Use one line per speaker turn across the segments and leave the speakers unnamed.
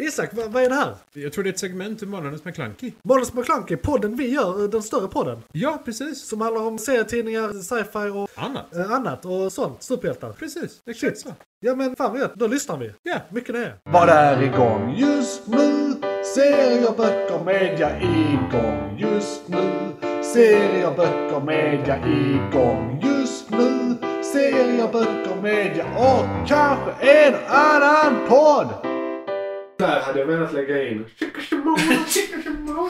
Isak, vad, vad är det här?
Jag tror det är ett segment ur Månadens McKlunky.
Måns McClunky, podden vi gör, den större podden.
Ja, precis.
Som handlar om serietidningar, sci-fi och
Annat.
eh, annat och sånt. Superhjältar.
Precis, exakt så.
Ja men fan vad gött, då lyssnar vi.
Ja.
Mycket det.
Vad är igång just nu? Serier, böcker, media igång just nu. Serier, böcker, media igång just nu. Serier, böcker, media och kanske en annan podd.
Där hade jag velat lägga in... Chicka-chimon, chicka-chimon.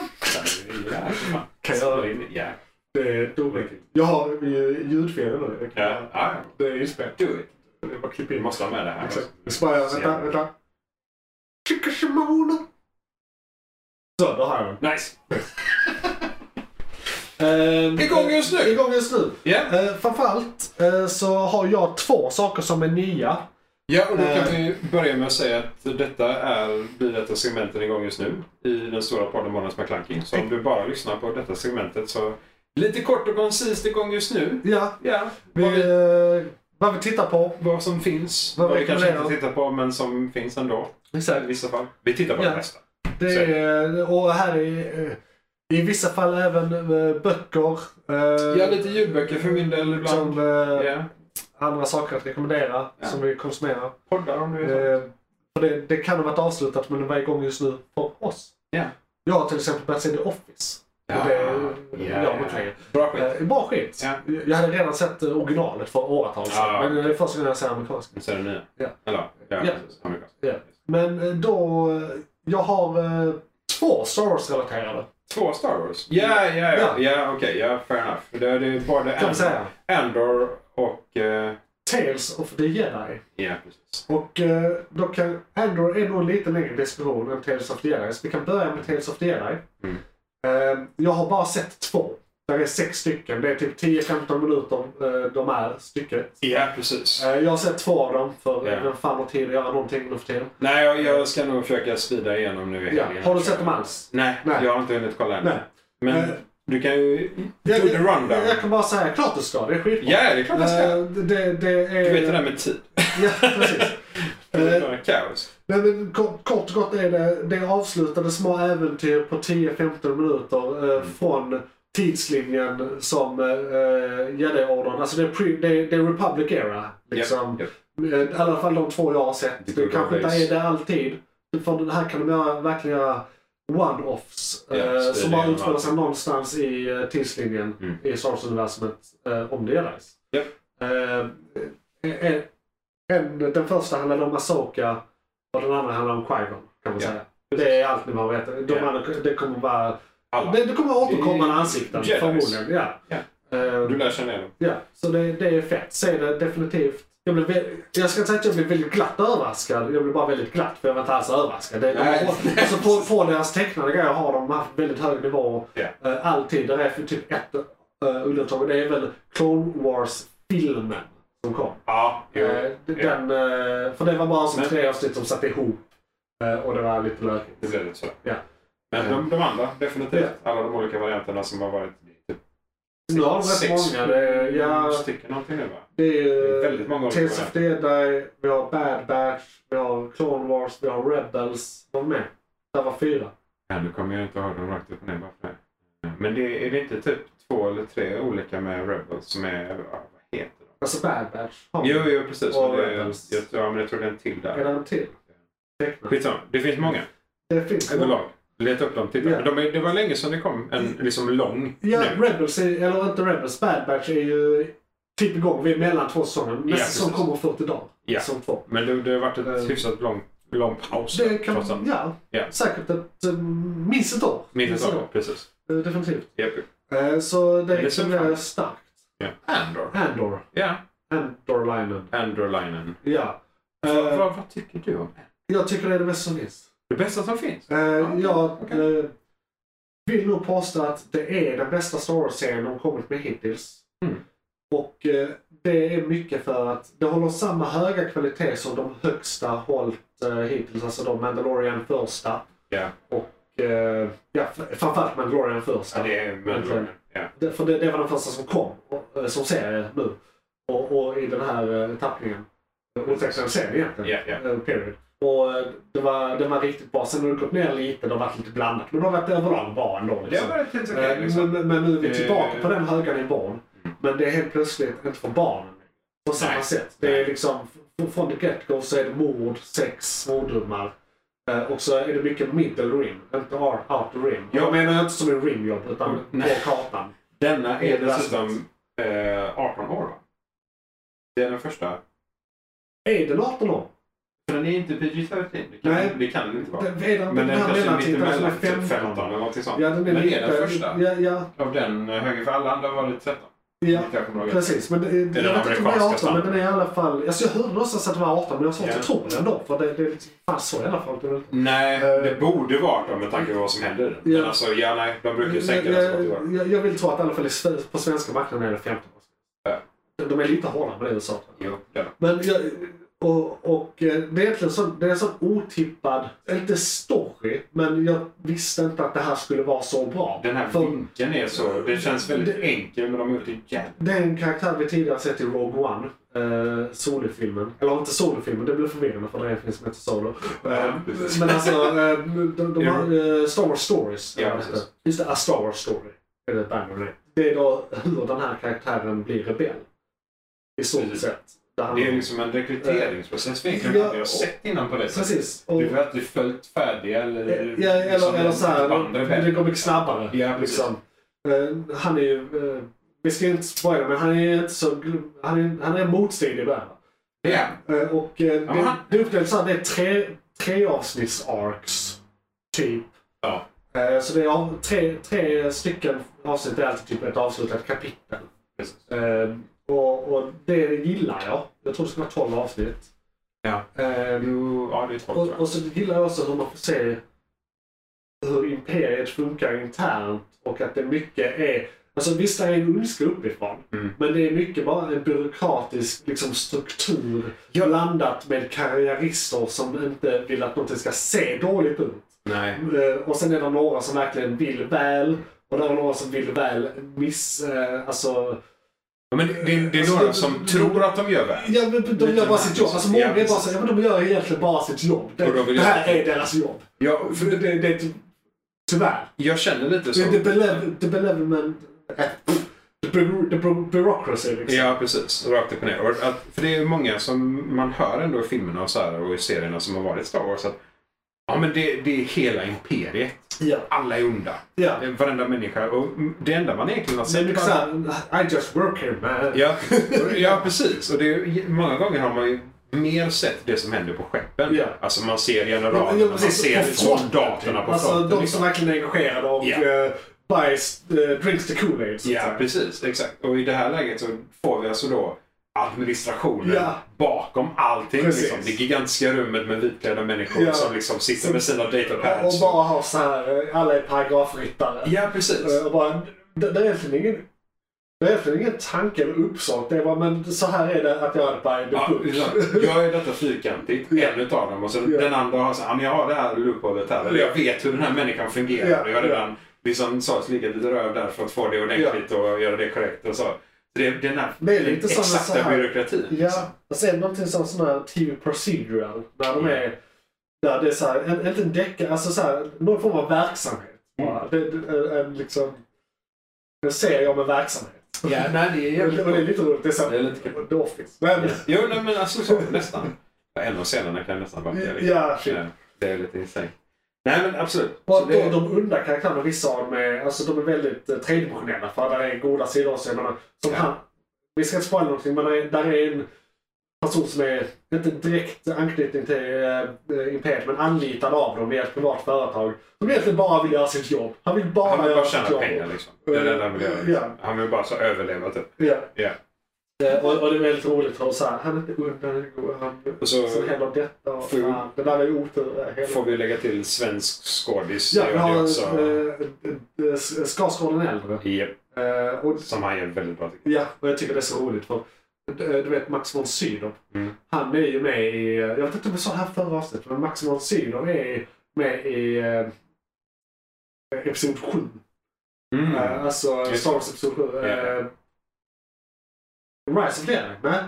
Ja, fan.
Kan jag göra det?
Ja.
Det är dåligt. Jag har ju ljudfelen nu. Det kan
Ja.
jag-
ja.
Det är inspelat.
Do it.
Det är bara att klippa
Vi
in.
måste ha med det här.
Exakt. Så bara, jag- vänta, vänta. Chicka-chimon. Så, då har jag den.
Nice.
Eh,
Igång just nu!
igång just nu.
Ja.
Eh, framförallt eh, så har jag två saker som är nya.
Ja, och då
Eh.
kan vi börja med att säga att detta är, blir detta segmenten igång just nu i den stora podden Månadens McKlunky. Så om du bara lyssnar på detta segmentet så lite kort och koncist igång just nu.
Ja,
Ja,
vi,
vad, vi,
eh, vad vi tittar på.
vad som finns.
vad
Vad vi kanske
rekommenderar.
inte tittar på men som finns ändå. I
Exakt.
vissa fall. Vi tittar på
Ja.
det mesta.
Det är, och här är eh, i vissa fall även eh, böcker. eh,
Ja, lite ljudböcker för min del ibland.
Som eh,
Ja.
andra saker att rekommendera
Ja.
som vi konsumerar.
Poddar om du vill.
Eh, för det, det kan ha varit avslutat men det var igång just nu för oss.
Ja.
Jag har till exempel börjat se The Office.
Ja.
Och det gör man inte längre.
Bra skit.
Eh, bra skit.
Ja.
Jag hade redan sett eh, originalet för åratal sedan.
Ja.
Men det är första gången jag ser amerikansk.
Nu säger du nya.
Ja.
Eller, ja.
Ja.
precis. Amerikansk.
Ja. Men eh, då, eh, jag har eh, två Star Wars-relaterade.
Två Star Wars? Ja, ja,
Ja.
ja. Ja, okej. Ja, fair enough. Det, det är både
Kan man
Andor,
säga.
Andor och... eh,
Tales of the Jedi.
ja, precis.
Och eh, då kan Andor är nog en lite längre diskussion än Tales of the Jedi. Så vi kan börja med Tales of the Jedi.
Mm.
Eh, jag har bara sett två. Där är sex stycken. Det är typ 10-15 minuter eh, de är stycket.
Ja, E precis.
Eh, jag har sett två av dem för
Ja.
vem fan har tid att göra någonting nu för tiden.
Nej, jag, jag ska nog försöka speeda igenom nu i
Ja.
helgen.
Har du sett dem alls?
Nej,
Nej.
jag har inte hunnit kolla än.
Nej.
Men
Eh,
du kan ju... Do
Jag,
the
jag,
rundown.
jag kan bara säga klart du ska. Det är skitbra.
Ja, det är klart jag ska.
Eh, det, det är...
Du vet det där med tid.
Ja, precis.
Det är
Eh,
bara kaos.
Nej, men kort, kort och gott är det, det är avslutade små äventyr på 10-15 minuter eh, från tidslinjen som eh, Jedi-ordern, alltså det är, pre, det, är, det är Republic Era. Liksom.
Japp,
Eh, I alla fall de två jag har sett.
The
Det
good
kanske
old
inte är
days.
det alltid. För det här kan de göra, verkligen göra one-offs
Ja,
eh,
så det
som
är
bara
det.
utspelar sig någonstans i eh, tidslinjen
Mm.
i Star Wars-universumet eh, om det Jedis.
Japp.
Eh, en, en, den första handlade om Asoka och den andra handlar om Qui-Gon kan man
Ja,
säga. Det är allt ni behöver veta. De
Ja.
andra, det kommer vara...
Alla.
Det, det kommer återkommande
Det är
ansikten
Jedis.
förmodligen. Ja.
Ja.
Eh,
Du lär känna igen dem.
Ja, så det, det är fett. Se det definitivt. Jag, blev, vä- jag ska inte säga att jag blev väldigt glatt överraskad. Jag blev bara väldigt glatt för jag var inte alls överraskad. Det, de
Nej.
har, alltså på, på deras tecknade grejer har de haft väldigt hög nivå
Ja.
eh, alltid. Det är för typ ett uh, undantag och det är väl Clone Wars-filmen som kom.
Ja, jo.
Eh, d- den, eh, för det var bara som
Men-
tre avsnitt som satt ihop eh, och det var lite lökigt.
Det blev lite så.
Ja.
Men de, de andra, definitivt. Alla de olika varianterna som har varit typ
Nu har de rätt
sex, Mm,
många. Det är, ja,
sju stycken någonting nu va?
det är
Det
ju...
är väldigt många olika
Tales of
varianter.
the Jedi, vi har Bad Batch, vi har Clone Wars, vi har Rebels. Vad mer? Det var fyra.
Ja, nu kommer jag inte ihåg dem rakt upp och ner bara för det. Mm. Men det, är det inte typ två eller tre olika med Rebels som är... Ja, vad heter de?
Alltså Bad Batch. har vi.
Jo, jo precis.
Och
Men det, jag,
Rebels.
jag, ja, men jag tror det är en till
Är det
där.
en till? Tecknad.
Skitsamma. Det finns många
Det finns många.
överlag. Leta upp dem, titta.
Ja.
Men De är, det var länge sedan det kom en liksom lång
Ja,
nu.
Rebels, är, eller inte Rebels, Bad Batch är ju typ igång. Vi är mellan två säsonger. Nästa
Ja, precis.
säsong kommer 40 dagar.
Ja.
Säsong två.
Men det, det har varit
Eh.
ett hyfsat lång, lång paus.
Det kan,
trots allt.
ja,
Ja.
säkert ett, eh, minst ett år.
Minst
Nästa
ett
år.
år, precis.
Eh, Definitivt.
Japp.
Eh, Så det
det ser
rekommenderar
fram-
jag starkt.
Ja. Andor.
Andor.
Ja,
Andor-linen.
Andor-linen.
Ja. Eh,
Vad- vad- vad tycker du om Andor?
Jag tycker det är det bästa som finns.
Det bästa som finns?
Eh, jag
okej.
eh, vill nog påstå att det är den bästa Star Wars-serien de kommit med hittills.
Mm.
Och eh, det är mycket för att det håller samma höga kvalitet som de högsta hållit eh, hittills. Alltså de Mandalorian första.
Ja.
Och eh, ja, f- framförallt Mandalorian första.
Ja, det är Mandalorian. Ja.
Det, för det, det var den första som kom och, eh, som serie nu. Och, och i den här eh, tappningen. utvecklade sen egentligen.
Ja, ja.
Eh, Period. Och eh, det var, det var riktigt bra. Sen har det gått ner lite, det har varit lite blandat. Men det har varit överlag bra ändå.
Det
Liksom.
har varit helt okej
Eh,
liksom.
men, men nu är vi
Eh, mm.
tillbaka på den höga nivån. Men det är helt plötsligt inte för barnen på samma
Nej.
sätt. Det
Nej.
är liksom, f- från the get-go så är det mord, sex, svordomar. Eh, Och så är det mycket middle rim, inte out outer rim. Jag menar inte som en rimjobb utan på
Nej.
kartan.
Denna är
helt
dessutom eh, 18 år va? Det är den första.
Är den 18 år?
För den är inte PG-13. Det kan,
Nej.
det kan den inte vara.
Den- Är den,
Men
den
den
här
kanske är
mellantiteln som är
mittemellan, typ
15?
15 eller någonting sånt.
Ja, den är
Men det
lite,
är den första.
Ja, ja,
Av den eh, höger, för alla andra var det 13.
ja.
Jag kommer ihåg.
Precis, men det, det, jag
den
vet inte om den är
amerikanska
18, men den är i alla fall... Alltså jag hörde någonstans att det var 18, men jag har svårt
Ja.
att tro det ändå. För det, det är liksom, fan så i alla fall. Det är väl-
Nej,
Eh,
det borde vara 18 med tanke på vad som händer i den.
ja.
Men alltså, ja, nej, de brukar ju
Jag,
sänka den till 80 år.
jag, jag, jag vill tro att i alla fall i Sve- på svenska marknaden är det 15 år.
Ja.
De- De är lite hårdare med det i USA.
Jo, det är det.
Men jag, och, och eh, det är egentligen så, det är en sån otippad, inte story, men jag visste inte att det här skulle vara så bra.
Den här
För-
vinkeln är så... Det känns väldigt
Det-
enkel, men de har gjort det jävligt...
Det är en karaktär vi tidigare sett i Rogue One. Eh, Solo-filmen. Eller inte Solo-filmen, det blir förvirrande för det är en film som heter Solo. Eh,
Ja, precis.
men alltså, eh, de, de har eh, Star Wars Stories.
Ja,
eh,
precis.
heter det. Just det, A Star Wars Story. Är det, ett band med det. det är då hur den här karaktären blir rebell. I stort
Precis.
sett. Där han-
Det är liksom en rekryteringsprocess för egentligen
Ja,
aldrig har sett innan på det sättet.
Precis. Och, eh,
Du har alltid följt färdiga eller...
ja,
liksom,
eller, eller så här,
typ andra
det går mycket snabbare.
Ja, precis.
liksom. Eh, han är ju, eh, vi ska inte spoila, men han är inte så, gl- han är, han är motstridig där.
Ja,
Eh, Och eh,
Ja,
det,
han-
det upplevs så här, det är tre, tre avsnitts arcs typ.
Ja.
Eh, Så det är av- tre, tre stycken avsnitt, är alltid typ ett avslutat kapitel.
precis.
Eh, Och, och det gillar jag. Jag tror det ska vara 12 avsnitt.
Ja.
Eh,
Jo, ja, det är tolv,
och,
tror jag.
och så gillar jag också hur man får se hur imperiet funkar internt och att det mycket är... Alltså visst, det är en ondska uppifrån.
Mm.
Men det är mycket bara en byråkratisk liksom, struktur blandat med karriärister som inte vill att någonting ska se dåligt ut.
Nej.
Eh, Och sen är det några som verkligen vill väl och det är några som vill väl miss... eh, Alltså...
Ja, men det, det, det är
Alltså,
några
det-
som tror att de gör väl.
Ja, men de
Lite
gör bara sitt jobb. Alltså många
ja,
är bara
precis.
så, ja, men de gör egentligen bara sitt jobb.
Och de
Det,
vill
det här
göra-
är deras jobb.
Jag,
För det, det, det är ty- tyvärr.
jag känner lite så.
Det, det, belev, det belevelment... eh, pff, The, bu- the bu- bureaucracy liksom.
Ja, precis. Rakt upp och ner. Och att, för det är ju många som man hör ändå i filmerna och, så här, och i serierna som har varit Star Wars att ja, men det, det är hela imperiet.
Ja.
Alla är onda.
ja.
Eh, Varenda människa. Och mm, det enda man egentligen har
Det är
sett...
mycket såhär, liksom, I just work here man.
ja, ja, precis. Och det är, ju- många gånger har man ju mer sett det som händer på skeppen.
Ja.
Alltså man ser
Ja,
generalerna,
ja,
man
precis.
ser
På fronten,
soldaterna på
Alltså
fronten.
de
liksom.
som verkligen är engagerade och
Ja.
yeah. buys, eh, drinks the Kool-Aid. så att
Ja,
säga.
precis. Exakt. Och i det här läget så får vi alltså då administrationen
Ja.
bakom allting.
Precis.
Liksom. Det gigantiska rummet med vitklädda människor
Ja.
som liksom sitter med sina
Och
datapads.
bara har såhär, alla är paragrafryttare.
Ja, precis.
Eh, Och bara, det, det är egentligen ingen... Det är egentligen ingen tanke eller uppsåt. Det var men så här är det att göra det by the
Ja,
book.
exakt. jag är detta fyrkantigt,
Ja.
en utav dem. Och så
Ja.
den andra har så här, "Ja, men jag har det här loopholet här. Eller jag vet hur den här människan fungerar.
Ja,
och jag har
ja.
redan liksom sa att ligga lite röv där för att få det ordentligt och göra det korrekt och så. så det, det är den här
Det är lite som en
exakta
så här-
byråkratin. liksom.
Ja, och sen Alltså, någonting som sån här TV procedural. Där de
Ja.
är... Där det är såhär, en, inte en deckare, alltså såhär, någon form av verksamhet.
Mm.
bara. Det, det, en, en, liksom, en serie om en verksamhet.
Ja, nej, det är
Och det, och det är lite roligt. Det är
Det är
såhär,
lite kul.
The Office. Men,
Jo, nej, men alltså så, nästan. Ja, En av scenerna kan nästan vara det. liksom.
ja, shit.
Ja, Det är lite insane. Nej, men absolut.
Bara
Så
att
det,
de, de onda karaktärerna, vissa av dem är, alltså, de är väldigt eh, tredimensionella. För där är goda sidor också. Jag menar, som
Ja.
han, vi ska inte spoila någonting, men där är, där är en person som är, inte direkt anknytning till eh, eh, Imperiet, men anlitad av dem via ett privat företag. Som egentligen bara vill göra sitt jobb. Han vill bara
han vill
göra
bara
sitt
tjäna
jobb.
pengar liksom. Det är det enda han vill göra.
Ja.
liksom. Han vill bara så överleva typ.
Ja.
Ja.
Eh, och, och det är väldigt roligt för så här, han är inte ond, han är god, han...
Och så
Sen händer detta och
Får-
fan, det där är ju otur. eh, hela-
får vi lägga till svensk skådis.
Ja,
Det
vi
gör det
har
också.
eh, eh, Skarsgården äldre.
Japp,
Eh, och
som han gör väldigt bra tycker
Ja, och jag tycker det är så roligt för eh, du vet Max von Sydow.
Mm.
Han är ju med i, eh, jag vet inte om jag sa det här förra avsnittet, men Max von Sydow är med i eh, Episod 7.
jag. Mm.
Eh, alltså
Just
eh, Star Wars Episod 7.
Ja.
Eh, Rise of the Jedi, nej?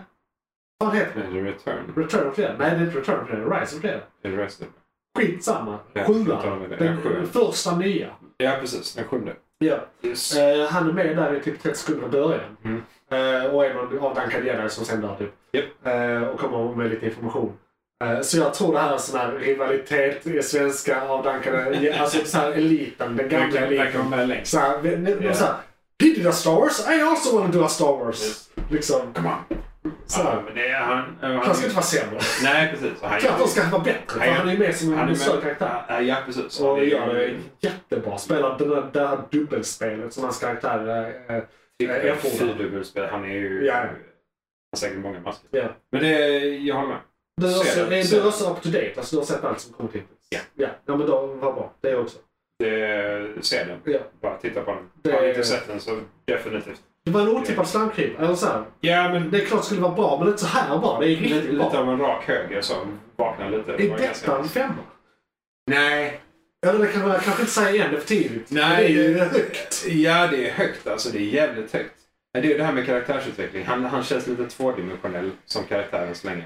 Vad heter det?
Är det Return?
Return of the Jedi? Nej, det är inte Return of the Jedi. Rise of the Jedi.
Är det Resident?
Skitsamma.
Ja,
Sjuan.
uttalar vi det. Ja,
Den
sjuan.
första nya.
Ja, precis. Den sjunde.
Ja.
Yes.
Eh, han är med där i typ 30 sekunder i början.
Mm.
Eh, och är någon avdankad jedi som sen dör typ.
Japp.
Eh, och kommer med lite information. Eh, så jag tror det här är sån här rivalitet i svenska avdankade, alltså så här eliten, den gamla
Verkar verkar vara
eliten.
med längst.
Så här, vi- ni-
Ja.
så här, He did a Star Wars, I also want to do a Star Wars.
Yes.
Liksom.
Come on.
Så
Ja,
här.
men det är han. eh, han-
Han ska inte vara sämre.
Nej, precis. Han,
Tvärtom ska han vara bättre, för
Ja.
han är ju med som en större karaktär.
Ja, ja, precis.
Och
Han är- typ
gör det jättebra. Spelar det där, det här dubbelspelet som hans karaktär eh, eh,
Typ
erfordrar.
fyrdubbelspel. Han är ju...
Ja.
Han har säkert många masker.
Ja.
Men det, jag håller med.
Du är,
Ser
också,
det,
är
ser
du
det.
också up to date? Alltså du har sett allt som kommit hittills?
Ja.
ja. Ja, men då, vad bra. Det också.
Det, se den.
Ja.
Bara titta på den.
Det-
Har ni inte sett den så definitivt.
Det var en otippad slamkryp. Eller så här.
Ja, men
Det är klart det skulle vara bra, men inte så här bra. Det är
lite,
riktigt
lite
bra.
av en rak höger som vaknar lite. Det
Är
var
detta en
ganska-
femma?
Nej.
Eller det kan man kanske inte säga igen, det är för tidigt.
Nej.
Det är ju högt.
Ja, det är högt alltså. Det är jävligt högt. Men det är ju det här med karaktärsutveckling. Han, han känns lite tvådimensionell som karaktär än så länge.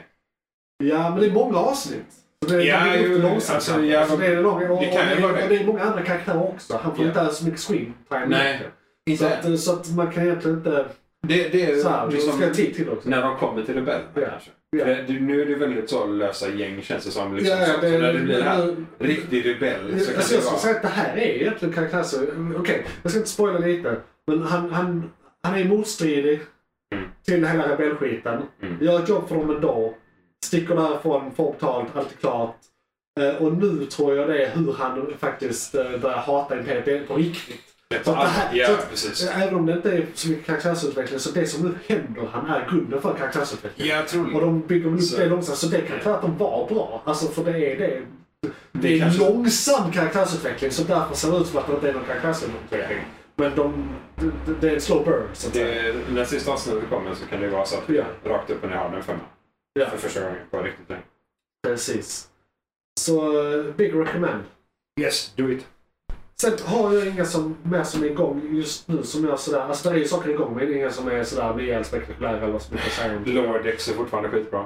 Ja, men det är många avsnitt. Så det,
Ja,
det blir
ju,
lite långsamt.
alltså,
kanske.
ja,
Alltså, det, är lång, och, och,
det kan ju vara det.
och det är många andra karaktärer också. Han får
Ja.
inte så mycket screen time.
Nej,
Så att, eh, så att man kan egentligen inte...
Det, det är
Så här, det
liksom
ska ha tid till också.
när de kommer till rebellerna
Ja.
kanske.
Ja.
Det, det, nu är det väldigt så lösa gäng känns det som. Liksom,
Ja,
så, så när det blir det här
men-
riktig rebell så
Alltså,
kan
jag
det
skulle
vara...
säga att det här är egentligen karaktärs... Okej, jag ska inte spoila lite. Men han, han, han är motstridig
Mm.
till hela rebellskiten.
Mm.
Gör ett jobb för dem ändå. Sticker därifrån, får betalt, allt är klart. Eh, Och nu tror jag det är hur han faktiskt eh, börjar hata Imperiet på riktigt.
Det,
Så att det här-
ja,
så att-
precis.
Eh, Även om det inte är så mycket karaktärsutveckling så det som nu händer han är grunden för karaktärsutveckling.
Jag tror
Och de bygger väl upp
Så-
det långsamt. Så det kan tvärtom vara bra. Alltså för det är det. Det, är
kanske-
långsam karaktärsutveckling så därför ser det ut som att det inte är någon karaktärsutveckling. Men de, det, det är en slow burn så att säga.
det, eh, när sista avsnittet kommer så kan det vara så att
Ja.
rakt upp och ner har den femma.
Ja.
För första gången på riktigt länge.
Precis. Så eh, big recommend.
Yes, do it.
Sen har jag inga som, mer som är igång just nu som jag sådär, alltså det är ju saker igång men inga som är sådär nya eller spektakulära eller så mycket att säga om.
Lower Decks är fortfarande skitbra.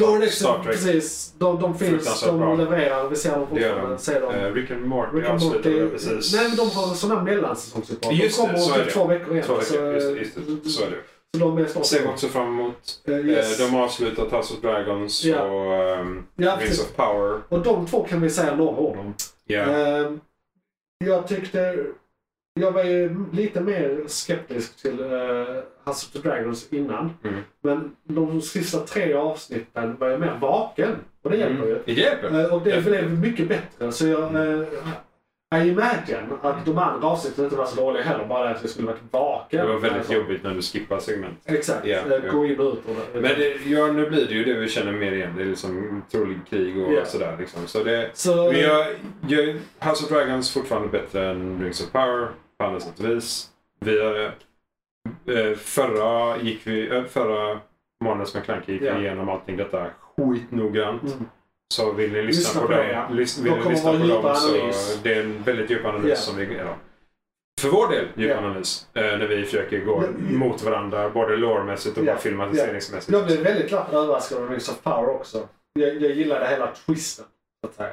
Lord
Star
Exxon,
Trek.
precis. De, de finns,
Fruktansvärt
de
bra.
levererar, vi ser dem
Det gör de.
fortfarande. Ser dem.
Eh, Rick and Morty
Rick and Morty.
avslutade precis.
Nej, men de har sådana mellansäsongsuppehåll. De
Just det,
kommer
så är
om
det.
typ två veckor igen.
Två veckor, just, det, just,
så,
det. så är det.
så de är snart
Ser vi också fram emot
Eh, yes.
Eh, De har avslutat House of Dragons
Ja.
och ehm,
Ja,
Rings
precis.
of Power.
Och de två kan vi säga några ord om.
Ja.
Ehm, jag tyckte... Jag var ju lite mer skeptisk till uh, House of the Dragons innan.
Mm.
Men de sista tre avsnitten var jag mer vaken. Och det hjälper ju.
Mm. Det hjälper.
Eh, Och det blev mycket bättre. Så jag...
Mm.
eh, I imagine att de andra avsnitten inte var så dåliga heller. Bara att jag skulle varit vaken.
Det var väldigt
Alltså,
jobbigt när du skippar segment.
Exakt.
Ja,
Eh,
ja.
Gå in och ut. Och det.
Men det, ja, nu blir det ju det vi känner mer igen. Det är liksom trolig krig och
Ja.
sådär. Liksom. Så det,
så,
men jag, jag, House of Dragons fortfarande bättre än Rings of Power på alla sätt och vis. Vi, eh, förra gick vi, eh, förra månadens McKlunky gick
Ja.
vi igenom allting detta skitnoggrant.
Mm.
Så vill ni lyssna,
Lyssna
på,
på
det,
dem, ja.
lys,
De
vill ni
kommer
lyssna
vara
på
djupa
dem så
analys.
det är en väldigt djup analys
Ja.
som vi ja. För vår del djup
Ja.
analys. Eh, när vi försöker gå
Men-
mot varandra både lårmässigt och
Ja.
bara filmatiseringsmässigt.
jag blev väldigt glatt överraskad av Rings of Power också. Jag, jag gillade hela twisten. Så att säga.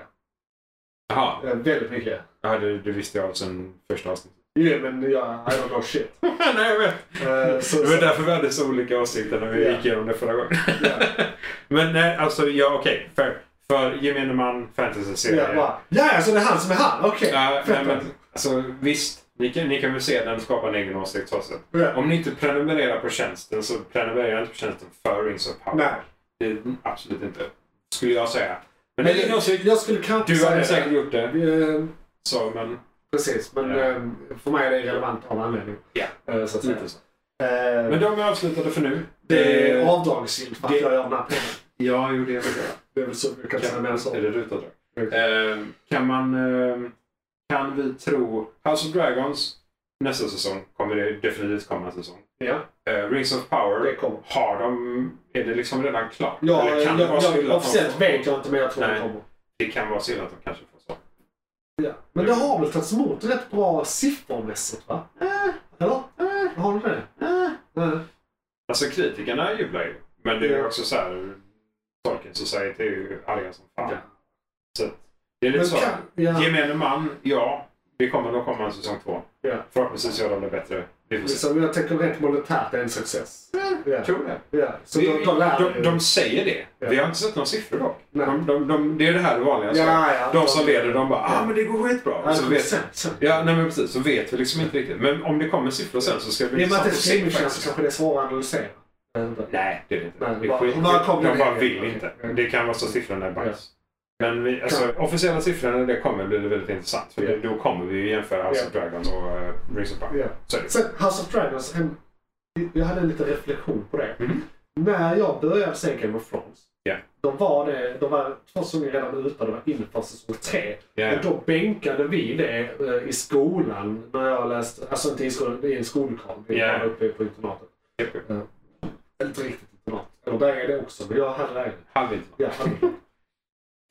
Jaha,
Eh, Väldigt mycket.
ja, det, det visste jag sen första avsnittet.
Jo, men jag, I don't know shit.
Nej, jag vet.
Eh, så,
Det var
så,
därför vi hade så olika åsikter när vi
Ja.
gick igenom det förra gången.
Ja.
Men nej, alltså ja okej. För, för gemene man, fantasy-serier.
jag bara, ja, så det är han som är han? Okej.
Ja, nej,
fett.
men, alltså, visst, ni kan, ni kan väl se den skapa en egen åsikt så sett.
Ja.
Om ni inte prenumererar på tjänsten så prenumerera inte på tjänsten för Rings of Power.
Nej.
Det är absolut inte. Skulle jag säga. Men,
Men
det är din åsikt.
jag skulle kanske
Du hade
säga-
säkert gjort det.
Eh,
Så, men
Precis, men
Ja.
eh, för mig är det relevant av anledning.
Ja.
Eh, Så att säga.
lite så.
Eh,
Men de är avslutade för nu.
Det är
Eh,
avdragsgillt för att
det-
jag gör den här pengarna.
Ja, jo det är väl det.
Det är väl så vi kan säga mer
Kan, är
så.
det rutavdrag? Eh, kan man... Eh, kan vi tro... House of Dragons nästa säsong kommer det definitivt komma en säsong.
Ja,
Eh, Rings of
det
Power,
kommer.
har de... Är det liksom redan klart?
Ja,
Eller kan det vara
jag,
så
jag,
illa att de-
officiellt vet jag inte men jag tror
Nej.
det kommer.
Det kan vara så illa att de kanske får så.
Ja. Men
Mm.
det har väl tagits emot rätt bra siffermässigt va? Eller? Har du det? Eh.
Alltså kritikerna jublar ju. Men det är ju
Ja.
också så här, Tolkien Society är ju arga som fan.
Ja.
Så att det är lite
Men
så.
kan, ja,
Gemene man, ja. Det kommer nog komma en säsong två.
Ja.
Förhoppningsvis gör de det bättre. Vi får se.
liksom, jag tänker rent monetärt är en success. Ja.
Jag tror Eh. det.
Ja. Så
Vi-
de, de lär
de, de säger det.
Ja.
Vi har inte sett några siffror dock.
Nej.
De, de, de, det är det här vanliga.
Ja, ja.
de som leder, de bara ah, men det går skitbra.
Ja,
Och så vet,
sen, sen.
ja, nej, men precis. Så vet vi liksom inte riktigt. Men om det kommer siffror sen så ska det bli
I och med att det är
att se
streamingtjänst
faktiskt.
kanske det är svårare att analysera. Jag vet inte.
Nej, det är det inte.
Nej,
det är
bara-
skit.
bara kom
de
det
bara
ner.
vill
Okej.
inte. Det kan vara så siffrorna är bajs. Men vi, alltså, officiella siffrorna när det kommer blir det väldigt intressant. För
Ja.
då kommer vi ju jämföra House of Dragon och uh, Rings of Power.
Ja.
Så är det.
Sen House of Dragons, alltså, en, jag hade en liten reflektion på det.
Mhm.
När jag började se Game of Thrones.
Ja.
De var det, de var två säsonger redan ute, de var inför säsong tre.
Ja,
Och då bänkade vi det eh, i skolan när jag läste, alltså inte i skolan, i en skolkram. Vi
Ja.
var uppe på internatet.
ja.
Inte riktigt internat. Eller där är det också, men jag hade lägenhet.
Halvint.
Ja, hade det.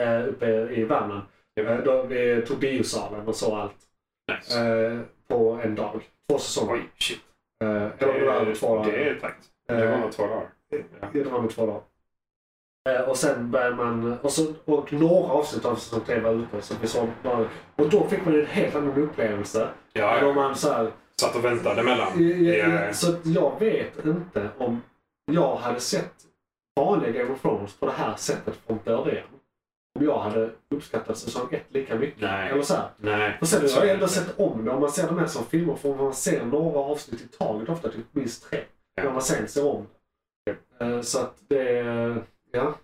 Eh, uppe i Värmland. Eh, Då vi tog biosalen och så allt
Nice.
eh, på en dag. Två säsonger.
Oj, shit.
Eh, eller om det var över två dagar.
Det är tajt. Det var nog två dagar.
Ja, det var med två dagar. Eh, Och sen började man, och, så, och några avsnitt av säsong tre var ute. Så vi såg bara, och då fick man ju en helt annan upplevelse.
Ja,
Då
jag
man så här,
satt och väntade mellan.
i- i-
Ja.
Så att jag vet inte om jag hade sett vanliga Game of Thrones på det här sättet från början. Om jag hade uppskattat säsong ett lika mycket.
Nej.
Eller så här.
Nej.
Och sen har jag ändå sett om det. Om man ser de här som filmer får man se några avsnitt i taget. Ofta typ minst tre.
Ja.
När man sen ser om det. Eh, Så att det... Ja.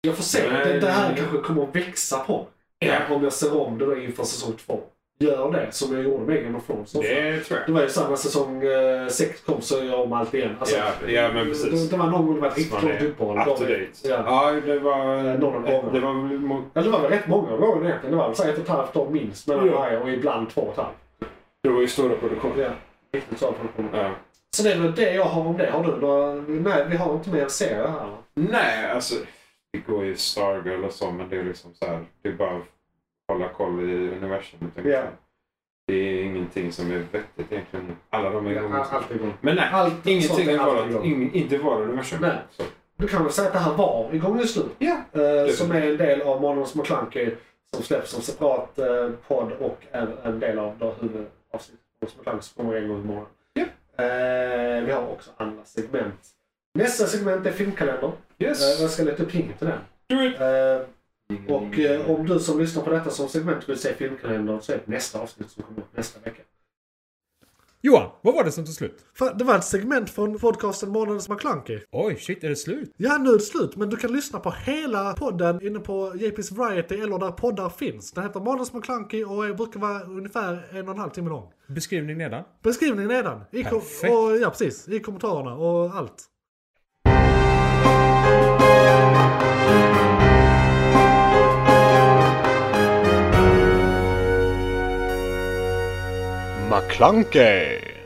Jag får se.
Nej.
Det, det här kanske kommer att växa på mig.
Ja.
Om jag ser om det då inför säsong två. Gör det som jag gjorde med Game of Thrones.
Det tror
Det
jag.
var ju samma säsong eh, sex kom så jag om allt igen. Alltså,
Ja, ja, men precis.
Det, det var någon gång det var ett riktigt
Man är
långt uppehåll.
Up to
Då-
date.
Ja.
Ja, det var...
Någon av gångerna.
Det var väl mot...
Ja, det var väl rätt många gånger egentligen. Det var väl så här ett och ett halvt år minst mellan
Ja.
varje och ibland två och ett halvt.
Det var ju stora produktioner.
Ja, riktigt så produktion.
Ja.
Så det är väl det jag har om det. Har du några... Nej, vi har inte mer serier här va?
Nej, alltså. Det går ju Stargirl och så, men det är liksom så här. Det är bara att hålla koll i universumet.
Ja.
Det är ingenting som är vettigt egentligen. Alla de är igång.
Ja, Allt är igång.
Men nej,
Allt sånt
ingenting
är
är
alltid
varat,
igång.
ing, inte var universum.
Nej.
Så.
Du kan väl säga att det här var igång just nu?
Ja.
Eh, som är en del av Månadens McKlunky som släpps som separat eh, podd och är en del av då huvudavsnittet. Månadens McKlunky som kommer en gång i månaden.
Ja.
Eh, vi har också andra segment. Nästa segment är filmkalendern. Eh,
Yes.
jag ska leta upp jingeln till den.
Do it.
Eh, Och eh, om du som lyssnar på detta som segment vill se filmkalendern så är det nästa avsnitt som kommer upp nästa vecka.
Johan, vad var det som tog slut?
Fan, Det var ett segment från podcasten Månadens McKlunky.
Oj, shit, är det slut?
Ja, nu är det slut, men du kan lyssna på hela podden inne på JP's Variety eller där poddar finns. Den heter Månadens McKlunky och är- brukar vara ungefär en och en halv timme lång.
Beskrivning nedan.
Beskrivningen nedan. I kom-
Perfekt.
och, ja, precis. I kommentarerna och allt.
McClunkey!